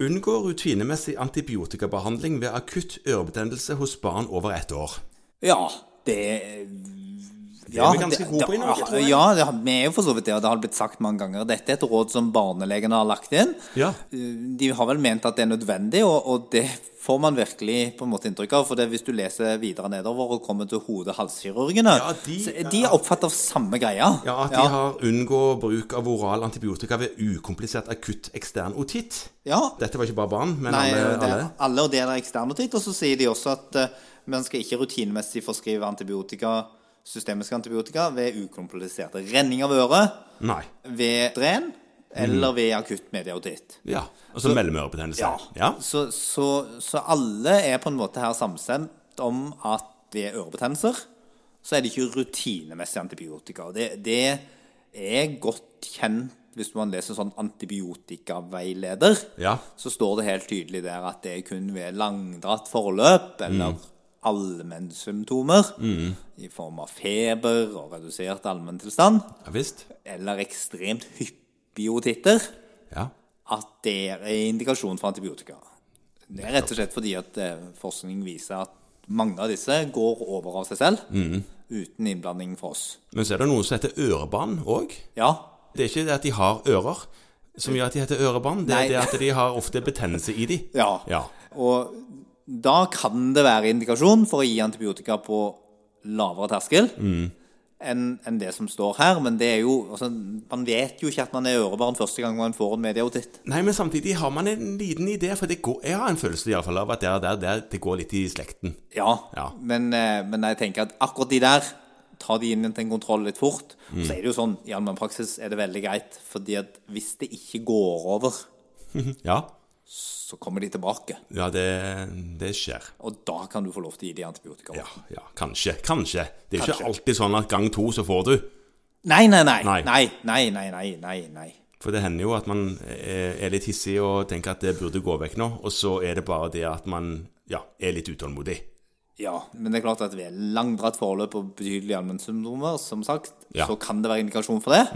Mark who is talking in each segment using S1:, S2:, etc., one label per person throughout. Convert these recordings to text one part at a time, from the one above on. S1: Unngå rutinemessig antibiotikabehandling ved akutt ørebetennelse hos barn over ett år.
S2: Ja, det
S1: er vi ganske gode på i Norge, tror jeg.
S2: Ja, det, har- vi er jo for så vidt det, og det har blitt sagt mange ganger. Dette er et råd som barnelegene har lagt inn.
S1: Ja.
S2: De har vel ment at det er nødvendig, og, og det får man virkelig på en måte inntrykk av. For det, hvis du leser videre nedover og kommer til hode-halskirurgene,
S1: Ja, de-
S2: så er de er opptatt av samme greia.
S1: Ja, at de har unngå bruk av oral antibiotika ved ukomplisert akutt ekstern otitt.
S2: Ja.
S1: Dette var ikke bare barn, men
S2: Nei,
S1: alle.
S2: det,
S1: alle.
S2: alle og det er ekstern notit. Og så sier de også at eh, man skal ikke rutinemessig forskrive antibiotika, systemisk antibiotika ved ukompliserte renning av øret,
S1: Nei.
S2: ved dren eller ved akutt mediautitt.
S1: Ja. Og så mellomørebetennelse. Mm. ja.
S2: Så, så, så alle er på en måte her samstemt om at ved ørebetennelser så er det ikke rutinemessig antibiotika. Og Det, det er godt kjent hvis man leser sånn antibiotikaveileder
S1: Ja.
S2: så står det helt tydelig der at det er kun ved langdratt forløp eller
S1: Mm.
S2: allmennsymptomer i form av feber og redusert allmenntilstand
S1: Ja visst.
S2: eller ekstremt hyppige otitter
S1: Ja.
S2: at det er indikasjon for antibiotika. Det er rett og slett fordi at eh, forskning viser at mange av disse går over av seg selv uten innblanding fra oss.
S1: Men så er det noe som heter ørebarn òg.
S2: Ja,
S1: Det er ikke det at de har ører som gjør at de heter ørebarn. Det
S2: Nei.
S1: er det at de har ofte betennelse i de.
S2: ja.
S1: Ja.
S2: Og da kan det være indikasjon for å gi antibiotika på lavere terskel enn enn det som står her. Men det er jo, altså, man vet jo ikke at man er ørebarn første gang man får en medieautitt.
S1: Nei, men samtidig har man en liten idé, for det går, jeg har en følelse i alle fall av at det, er der, der, det går litt i slekten.
S2: Ja,
S1: Ja.
S2: Men, eh, men jeg tenker at akkurat de der, ta de inn til en kontroll litt fort. Og så er det jo sånn, i allmennpraksis er det veldig greit, fordi at hvis det ikke går over,
S1: Ja,
S2: så kommer de tilbake.
S1: ja det, det skjer.
S2: Og da kan du få lov til å gi de antibiotika.
S1: Ja, ja, kanskje. Kanskje. Det er
S2: Kanskje.
S1: ikke alltid sånn at gang to så får du.
S2: Nei, nei, nei,
S1: Nei.
S2: nei, nei, nei, nei, nei, nei.
S1: For det hender jo at man eh, er litt hissig og tenker at det burde gå vekk nå, og så er det bare det at man ja, er litt utålmodig.
S2: Ja, men det er klart at ved langdratt forløp og betydelige allmennsymptomer, som sagt,
S1: Ja. Mm.
S2: så kan det være indikasjon for det.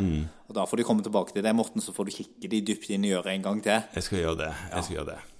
S2: Og da får de komme tilbake til det, Morten, så får du kikke de dypt inn i øret en gang til.
S1: Jeg skal gjøre det. Jeg skal gjøre det.